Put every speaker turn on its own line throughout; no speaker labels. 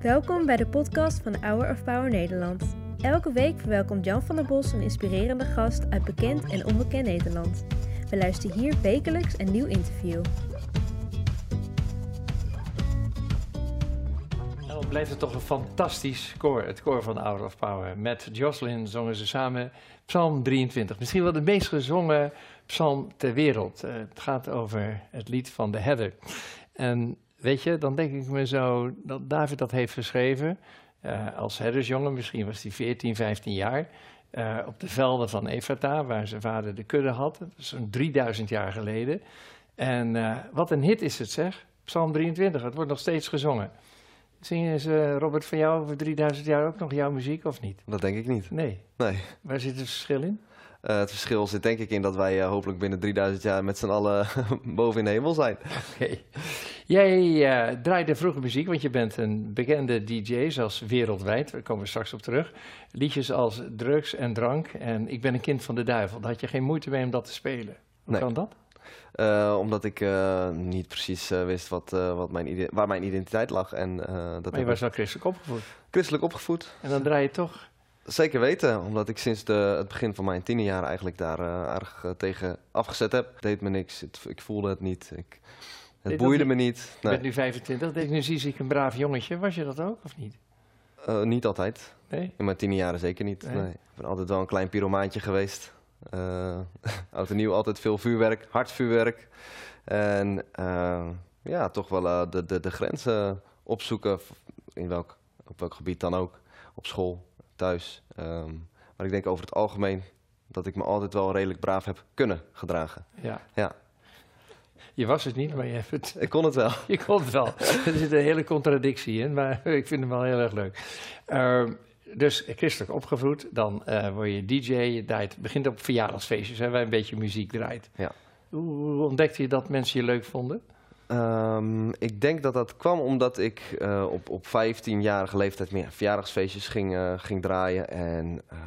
Welkom bij de podcast van Hour of Power Nederland. Elke week verwelkomt Jan van der Bos een inspirerende gast uit bekend en onbekend Nederland. We luisteren hier wekelijks een nieuw interview.
En dan blijft het toch een fantastisch koor, het koor van Hour of Power. Met Jocelyn zongen ze samen Psalm 23. Misschien wel de meest gezongen psalm ter wereld. Eh, het gaat over het lied van de herder. En weet je, dan denk ik me zo dat David dat heeft geschreven. eh, als herdersjongen, misschien was hij 14, 15 jaar. eh, op de velden van Efrata, waar zijn vader de kudde had. Zo'n 3000 jaar geleden. En eh, wat een hit is het zeg. Psalm 23, het wordt nog steeds gezongen. Zingen ze, eh, Robert, van jou over 3000 jaar ook nog jouw muziek of niet?
Dat denk ik niet.
Nee.
Nee.
Waar zit het verschil in?
Eh, het verschil zit denk ik in dat wij eh, hopelijk binnen 3000 jaar met z'n allen boven in de hemel zijn.
Oké. Jij eh, draaide vroeger muziek, want je bent een bekende DJ, zelfs wereldwijd. Daar komen we straks op terug. Liedjes als Drugs en Drank en Ik ben een kind van de duivel. Daar had je geen moeite mee om dat te spelen. Hoe
Nee.
kan dat?
Eh, omdat ik eh, niet precies eh, wist wat, eh, wat mijn ide- waar mijn identiteit lag. En eh, dat
Maar je
heb
was
ik
wel christelijk opgevoed.
christelijk opgevoed.
En dan draai je toch.
Zeker weten, omdat ik sinds de, het begin van mijn tienerjaar eigenlijk daar eh, aardig eh, tegen afgezet heb. Het deed me niks, het, ik voelde het niet. Ik, het
dat
boeide
niet?
me niet.
Je
Nee,
bent nu 25, denk ik, nu zie ik een braaf jongetje. Was je dat ook of niet?
eh, niet altijd.
Nee?
In mijn tienerjaren zeker niet.
Nee?
Nee. Ik ben altijd wel een klein pyromaantje geweest. Eh oud en nieuw altijd veel vuurwerk, hard vuurwerk. En eh, ja, toch wel eh, de, de, de grenzen opzoeken. v- In welk, op welk gebied dan ook. Op school, thuis. Ehm, maar ik denk over het algemeen dat ik me altijd wel redelijk braaf heb kunnen gedragen.
Ja.
Ja.
Je was het niet, maar je hebt het
Ik kon het wel.
Je komt wel. Er zit een hele contradictie in, maar ik vind hem wel heel erg leuk. Ehm, dus christelijk opgevoed, dan eh, word je DJ, je draait, begint op verjaardagsfeestjes, hè, waar je een beetje muziek draait.
Ja.
Hoe, hoe ontdekte je dat mensen je leuk vonden?
Ehm, ik denk dat dat kwam omdat ik eh, op, op 15-jarige leeftijd meer verjaardagsfeestjes ging, eh, ging draaien. En ehm,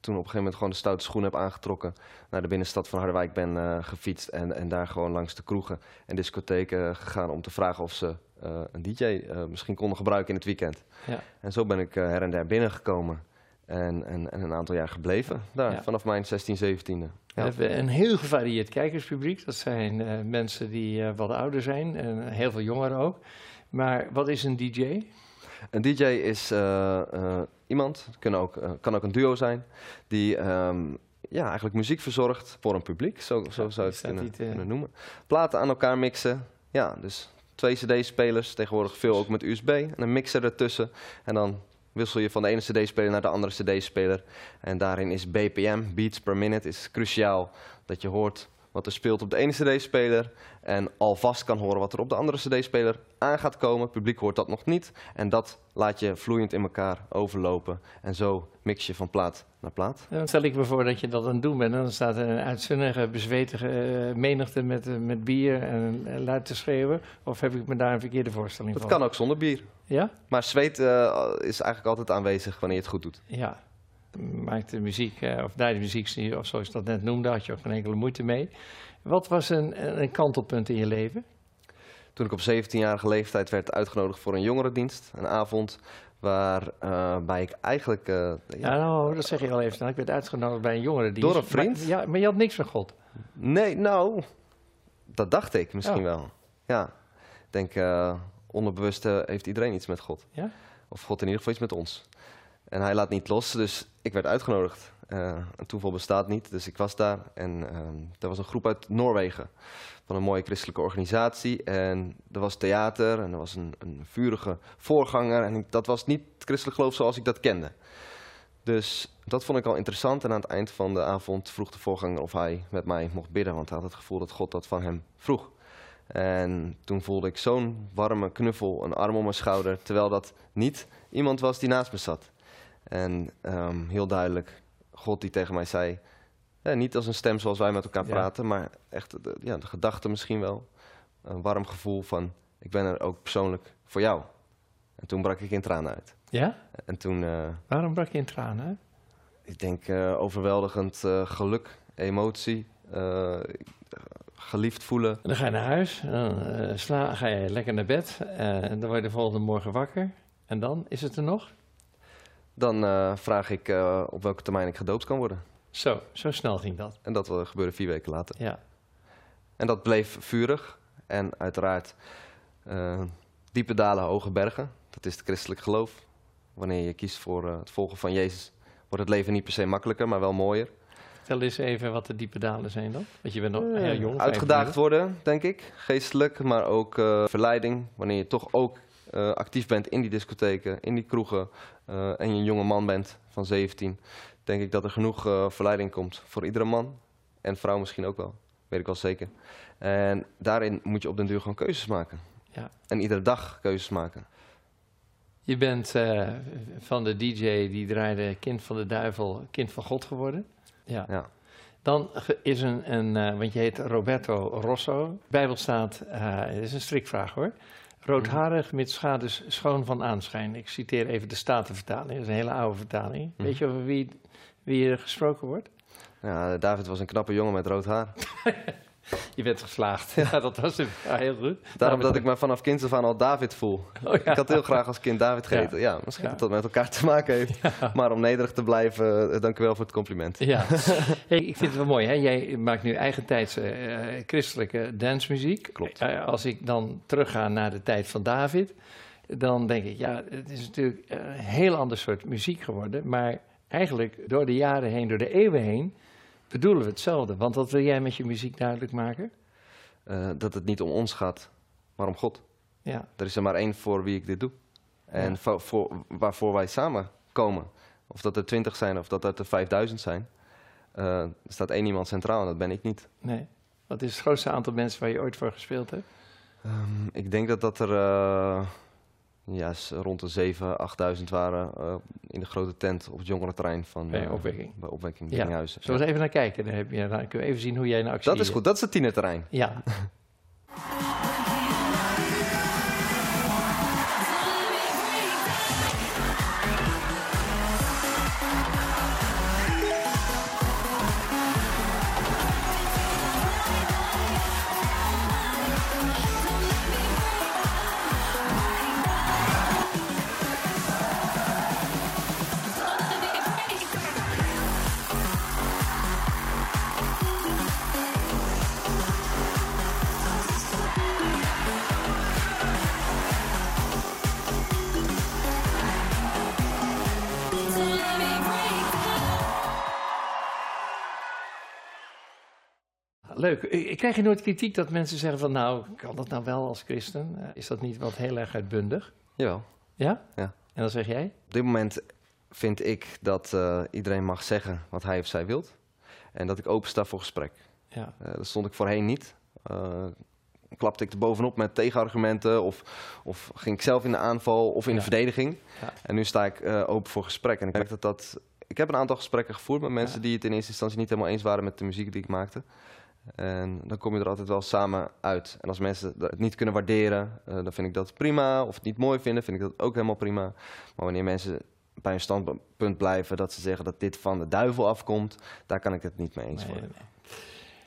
toen op een gegeven moment gewoon de stoute schoen heb aangetrokken. Naar de binnenstad van Harderwijk ben eh, gefietst. En, en daar gewoon langs de kroegen en discotheken eh, gegaan om te vragen of ze eh, een DJ eh, misschien konden gebruiken in het weekend.
Ja.
En zo ben ik eh, her en der binnengekomen. En, en, en een aantal jaar gebleven daar,
Ja.
vanaf mijn 16, 17e.
We hebben een heel gevarieerd kijkerspubliek. Dat zijn eh, mensen die eh, wat ouder zijn en heel veel jongeren ook. Maar wat is een DJ?
Een DJ is eh, eh, iemand, het kan ook, eh, kan ook een duo zijn, die ehm, ja, eigenlijk muziek verzorgt voor een publiek. Zo, zo
Ja,
zou je
is dat
het kunnen,
niet, eh,
kunnen noemen. Platen aan elkaar mixen. Ja, dus twee CD-spelers, tegenwoordig veel ook met USB. En een mixer ertussen. En dan wissel je van de ene CD-speler naar de andere CD-speler. En daarin is BPM, beats per minute, is cruciaal dat je hoort wat er speelt op de ene CD-speler. En alvast kan horen wat er op de andere CD-speler aan gaat komen. Het publiek hoort dat nog niet. En dat laat je vloeiend in elkaar overlopen. En zo mix je van plaat naar plaat.
Dan stel ik me voor dat je dat aan het doen bent. En dan staat er een uitzinnige, bezwetige eh, menigte met, eh, met bier en eh, luid te schreeuwen. Of heb ik me daar een verkeerde voorstelling
Dat
van?
kan ook zonder bier.
Ja?
Maar zweet eh, is eigenlijk altijd aanwezig wanneer je het goed doet.
Ja. Maakt de muziek, eh, of daar de muziek, of zoals je dat net noemde, had je ook geen enkele moeite mee. Wat was een, een kantelpunt in je leven?
Toen ik op 17-jarige leeftijd werd uitgenodigd voor een jongerendienst. Een avond waarbij ik eigenlijk... eh, ja,
Ja, nou, dat zeg je al even snel. Ik werd uitgenodigd bij een jongere die.
Door een vriend?
Maar, ja, maar je had niks van God.
Nee, nou... Dat dacht ik misschien
Oh.
wel. Ja. Ik denk, eh, onderbewust eh, heeft iedereen iets met God.
Ja?
Of God in ieder geval iets met ons. En hij laat niet los, dus ik werd uitgenodigd. Eh, een toeval bestaat niet, dus ik was daar. En ehm, er was een groep uit Noorwegen. Van een mooie christelijke organisatie. En er was theater en er was een, een vurige voorganger. En ik- dat was niet het christelijk geloof zoals ik dat kende. Dus dat vond ik al interessant. En aan het eind van de avond vroeg de voorganger of hij met mij mocht bidden. Want hij had het gevoel dat God dat van hem vroeg. En toen voelde ik zo'n warme knuffel, een arm om mijn schouder. Terwijl dat niet iemand was die naast me zat. En ehm, heel duidelijk, God die tegen mij zei... ja, niet als een stem zoals wij met elkaar
Ja.
praten, maar echt de, ja, de gedachte misschien wel. Een warm gevoel van, ik ben er ook persoonlijk voor jou. En toen brak ik in tranen uit.
Ja?
En toen, eh,
Waarom brak je in tranen? uit?
ik denk eh, overweldigend eh, geluk, emotie, eh, geliefd voelen.
En dan ga je naar huis, en dan eh, sla, ga je lekker naar bed. eh, en dan word je de volgende morgen wakker. En dan, is het er nog?
Dan eh, vraag ik eh, op welke termijn ik gedoopt kan worden.
Zo, zo snel ging dat.
En dat eh, gebeurde vier weken later.
Ja,
En dat bleef vurig. En uiteraard eh, diepe dalen, hoge bergen. Dat is het christelijk geloof. Wanneer je kiest voor eh, het volgen van Jezus, wordt het leven niet per se makkelijker, maar wel mooier.
vertel eens even wat de diepe dalen zijn dan. Want je bent nog
Eh,
heel jong.
uitgedaagd
25.
worden, denk ik. Geestelijk, maar ook eh, verleiding. Wanneer je toch ook eh, actief bent in die discotheken, in die kroegen. eh, en je een jonge man bent van 17. Denk ik dat er genoeg eh, verleiding komt voor iedere man. En vrouw misschien ook wel. Weet ik wel zeker. En daarin moet je op den duur gewoon keuzes maken.
Ja.
En iedere dag keuzes maken.
Je bent eh, van de DJ die draaide Kind van de Duivel, Kind van God geworden. Ja.
Ja.
Dan ge- is een, een eh, want je heet Roberto Rosso. Bijbel staat, eh, dit is een strikvraag hoor.
Mhm.
Roodharig met schades schoon van aanschijn. Ik citeer even de Statenvertaling, dat is een hele oude vertaling.
Mhm.
Weet je over wie, wie er gesproken wordt?
Ja, David was een knappe jongen met rood haar.
Je bent geslaagd. Ja, dat was hem. Ja, heel goed. Nou,
Daarom dat ik me vanaf kind af aan al David voel.
Oh, ja.
Ik had heel graag als kind David gegeten. Ja, misschien
Ja.
dat dat met elkaar te maken heeft. Maar om nederig te blijven, eh, dank u wel voor het compliment.
Ja, hey, ik vind het wel mooi. Hè? Jij maakt nu eigentijdse eh, christelijke dansmuziek.
Klopt.
Eh, als ik dan terugga naar de tijd van David, dan denk ik, ja, het is natuurlijk eh, een heel ander soort muziek geworden. Maar eigenlijk door de jaren heen, door de eeuwen heen, bedoelen we hetzelfde. Want wat wil jij met je muziek duidelijk maken?
Eh, dat het niet om ons gaat, maar om God.
Ja,
Er is er maar één voor wie ik dit doe. En
Ja.
voor, voor- waarvoor wij samen komen. Of dat er twintig zijn of dat er vijfduizend zijn. eh, er staat één iemand centraal en dat ben ik niet.
nee. Wat is het grootste aantal mensen waar je ooit voor gespeeld hebt?
Ehm, ik denk dat dat er eh, ja, s- rond de 7.000, 8.000 waren eh, in de grote tent op het jongerenterrein van
Bij
eh,
opwekking.
Bij opwekking
Ja.
Biddinghuis.
Zullen we eens even naar kijken? Dan, heb je, dan kunnen we even zien hoe jij in actie
Dat is goed, dat is het tienerterrein.
Ja, Leuk. Ik ik krijg je nooit kritiek dat mensen zeggen van nou, kan dat nou wel als christen? Eh, Is dat niet wat heel erg uitbundig?
Jawel.
Ja?
Ja.
En dan zeg jij?
Op dit moment vind ik dat eh, iedereen mag zeggen wat hij of zij wilt. En dat ik open sta voor gesprek.
Ja.
Eh, dat stond ik voorheen niet. Eh, klapte ik er bovenop met tegenargumenten of, of ging ik zelf in de aanval of in
Ja.
de verdediging.
Ja.
En nu sta ik eh, open voor gesprek. En ik merk dat dat... Ik heb een aantal gesprekken gevoerd met mensen
Ja.
die het in eerste instantie niet helemaal eens waren met de muziek die ik maakte. En dan kom je er altijd wel samen uit. En als mensen het niet kunnen waarderen, eh, dan vind ik dat prima. Of het niet mooi vinden, vind ik dat ook helemaal prima. Maar wanneer mensen bij hun standpunt blijven dat ze zeggen dat dit van de duivel afkomt, daar kan ik het niet mee eens
Nee,
worden.
nee.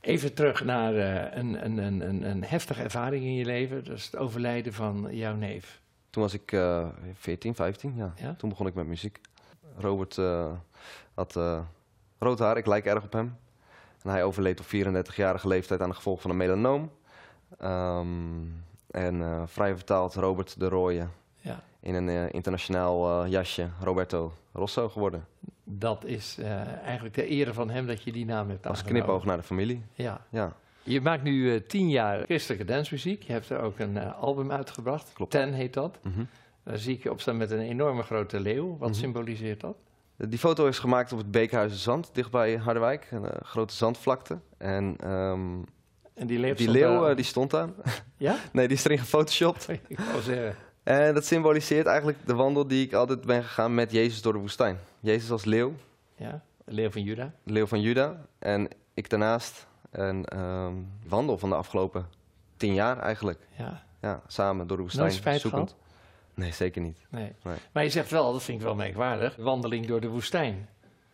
Even terug naar eh, een, een, een, een, een heftige ervaring in je leven. Dat is het overlijden van jouw neef.
Toen was ik eh 14, 15, ja.
Ja?
Toen begon ik met muziek. Robert eh, had eh, rood haar, ik lijk erg op hem. En hij overleed op 34-jarige leeftijd aan de gevolgen van een melanoom. Ehm, en eh, vrij vertaald Robert de Rooie
Ja.
in een eh, internationaal eh, jasje Roberto Rosso
Ah,
geworden.
Dat is eh, eigenlijk de ere van hem dat je die naam hebt
Als
aangenomen.
knipoog naar de familie.
Ja.
Ja,
Je maakt nu eh, tien jaar christelijke dansmuziek. Je hebt er ook een eh, album uitgebracht.
Klopt.
Ten heet dat.
mhm.
Daar zie ik je opstaan met een enorme grote leeuw. Wat
Mhm.
symboliseert dat?
Die foto is gemaakt op het Beekhuizen Zand, dichtbij Harderwijk. Een eh, grote zandvlakte. En ehm,
En die leeuw
die
stond
leeuw
daar-
eh, die stond daar.
Ja?
Nee, die is erin gefotoshopt.
Ik wou zeggen,
En dat symboliseert eigenlijk de wandel die ik altijd ben gegaan met Jezus door de woestijn. Jezus als leeuw,
ja, de leeuw van Juda.
leeuw van Juda. En ik daarnaast een ehm, wandel van de afgelopen tien jaar eigenlijk.
Ja,
Ja, samen door de woestijn.
Nooit spijt
Nee, zeker niet.
nee.
Nee.
Maar je zegt wel, dat vind ik wel merkwaardig, wandeling door de woestijn.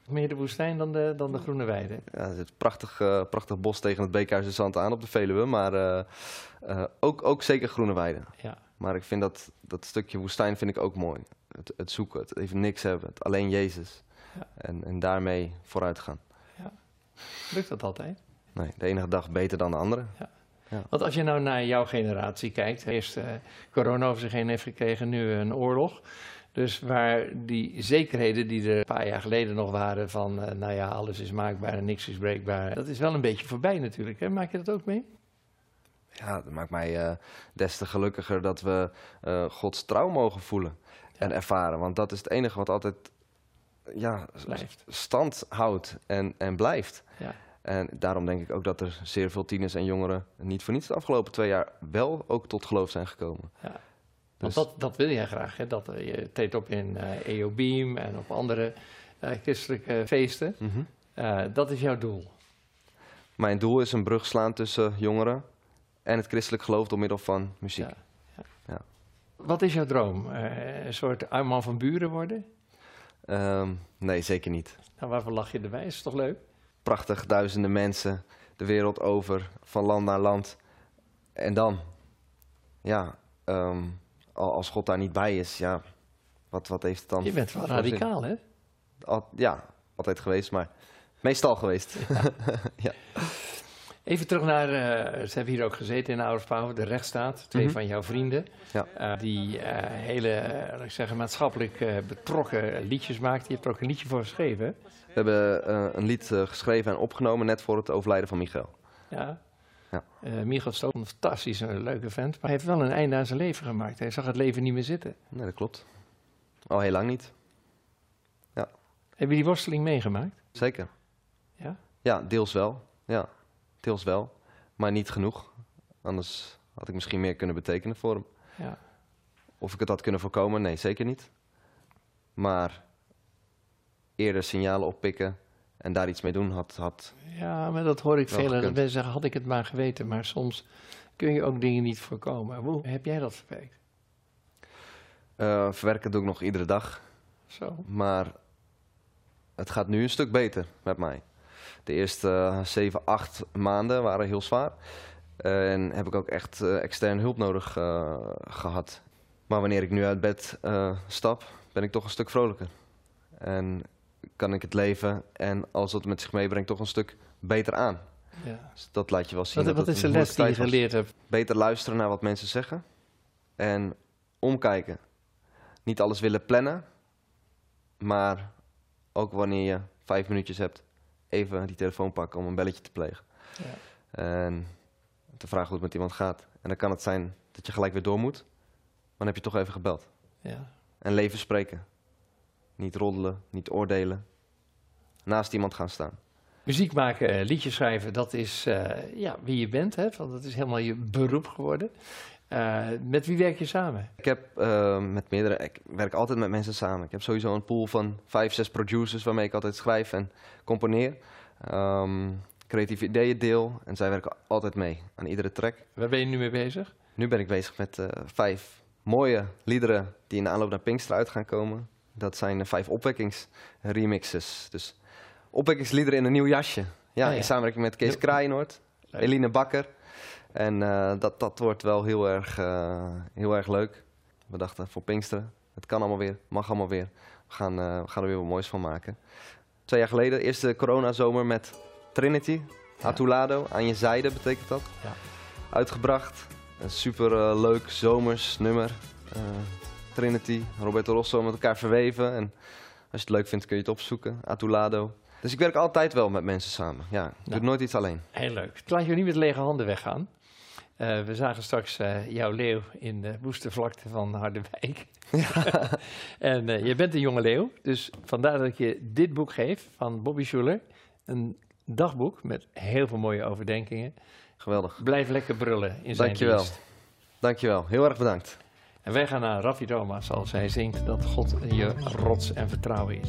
Meer de woestijn dan de, dan de groene weide.
Ja, er zit een prachtig, eh, prachtig bos tegen het Beekhuizen Zand aan op de Veluwe. Maar eh, eh, ook, ook zeker groene weiden.
Ja.
Maar ik vind dat, dat stukje woestijn vind ik ook mooi. Het, het zoeken, het even niks hebben, het alleen Jezus.
Ja.
En, en daarmee vooruit gaan.
Lukt dat altijd?
Nee, de enige dag beter dan de andere.
Want als je nou naar jouw generatie kijkt, eerst eh, corona over zich heen heeft gekregen, nu een oorlog. Dus waar die zekerheden die er een paar jaar geleden nog waren van, eh, nou ja, alles is maakbaar en niks is breekbaar. Dat is wel een beetje voorbij natuurlijk. Hè? Maak je dat ook mee?
Ja, dat maakt mij eh, des te gelukkiger dat we eh, Gods trouw mogen voelen en ervaren. Want dat is het enige wat altijd ja, s-
Blijft.
stand houdt en, en blijft.
Ja.
En daarom denk ik ook dat er zeer veel tieners en jongeren niet voor niets de afgelopen twee jaar wel ook tot geloof zijn gekomen.
Ja.
Dus
Want dat, dat wil jij graag. Hè? Dat, eh, je treedt op in eh EOBeam en op andere eh, christelijke feesten.
Mhm.
Eh, dat is jouw doel.
mijn doel is een brug slaan tussen jongeren en het christelijk geloof door middel van muziek.
Ja.
Ja.
Wat is jouw droom? Eh, een soort uitman van buren worden?
Ehm, nee, zeker niet.
Nou, waarvoor lach je erbij? Is toch leuk?
prachtig duizenden mensen de wereld over, van land naar land. En dan, ja, ehm, al- als God daar niet bij is, ja, wat, wat heeft het dan?
Je bent wel
voor zin?
radicaal, hè?
Al- ja, altijd geweest, maar meestal geweest.
Even terug naar, eh, ze hebben hier ook gezeten in Ouderspouw, de rechtsstaat. Twee
Mhm.
van jouw vrienden.
Ja.
eh, die eh, hele, eh, laat ik zeggen, maatschappelijk eh, betrokken liedjes maakten. Je hebt er ook een liedje voor geschreven. hè?
We hebben eh, een lied eh, geschreven en opgenomen net voor het overlijden van Michael.
Ja.
Ja.
Eh, Michael Stoop, een fantastisch een leuke vent. Maar hij heeft wel een einde aan zijn leven gemaakt. Hij zag het leven niet meer zitten.
Nee, dat klopt. Al heel lang niet,
Heb je die worsteling meegemaakt?
zeker.
Ja?
Ja, deels wel. Ja, deels wel. Maar niet genoeg. Anders had ik misschien meer kunnen betekenen voor hem.
Ja.
Of ik het had kunnen voorkomen? Nee, zeker niet. Maar eerder signalen oppikken en daar iets mee doen had. had
Ja, maar dat hoor ik
Wel
veel. En
gekund.
mensen zeggen, had ik het maar geweten. Maar soms kun je ook dingen niet voorkomen. Hoe heb jij dat verwerkt?
eh, verwerken doe ik nog iedere dag.
Zo.
Maar het gaat nu een stuk beter met mij. De eerste eh, zeven, acht maanden waren heel zwaar. en heb ik ook echt eh, externe hulp nodig eh, gehad. Maar wanneer ik nu uit bed eh, stap, ben ik toch een stuk vrolijker. En kan ik het leven en alles wat het met zich meebrengt toch een stuk beter aan.
Ja.
Dus dat laat je wel zien.
Wat,
dat
wat
het
is de
een
les die je
moeilijke tijd
geleerd hebt?
was. Beter luisteren naar wat mensen zeggen. En omkijken. Niet alles willen plannen. Maar ook wanneer je vijf minuutjes hebt, even die telefoon pakken om een belletje te plegen.
Ja.
En te vragen hoe het met iemand gaat. En dan kan het zijn dat je gelijk weer door moet. Maar dan heb je toch even gebeld.
Ja.
En leven spreken. Niet roddelen, niet oordelen. Naast iemand gaan staan.
Muziek maken, eh, liedjes schrijven, dat is eh, ja, wie je bent. Hè? Want dat is helemaal je beroep geworden. Eh, met wie werk je samen?
Ik heb eh, met meerdere, ik werk altijd met mensen samen. Ik heb sowieso een pool van vijf, zes producers waarmee ik altijd schrijf en componeer. Ehm creatieve ideeën deel en zij werken altijd mee aan iedere track.
Waar ben je nu mee bezig?
Nu ben ik bezig met eh, vijf mooie liederen die in de aanloop naar Pinkster uit gaan komen. Dat zijn eh, vijf opwekkingsremixes. Dus opwekkingsliederen in een nieuw jasje. Ja,
Ah, ja.
in samenwerking met Kees
Heel-
Kraaienoord,
Leuk.
Eline Bakker. En eh, dat, dat wordt wel heel erg, eh, heel erg leuk. We dachten voor Pinksteren, het kan allemaal weer, mag allemaal weer. We gaan, eh, we gaan er weer wat moois van maken. Twee jaar geleden, eerste coronazomer met Trinity.
Ja.
Atulado, aan je zijde betekent dat.
Ja.
Uitgebracht. Een super eh, leuk zomers nummer. Eh, Trinity, Roberto Rosso met elkaar verweven. En als je het leuk vindt kun je het opzoeken. Atulado. Dus ik werk altijd wel met mensen samen. Ja, ik
Ja.
doe nooit iets alleen.
Heel leuk. Het laat je niet met lege handen weggaan. Eh, we zagen straks eh, jouw leeuw in de woeste vlakte van Harderwijk. en eh, je bent een jonge leeuw, dus vandaar dat ik je dit boek geef van Bobby Schuller. Een dagboek met heel veel mooie overdenkingen.
Geweldig.
Blijf lekker brullen in zijn
Dankjewel.
dienst.
Dankjewel. Heel erg bedankt.
En wij gaan naar Raffi Thomas als hij zingt dat God je rots en vertrouwen is.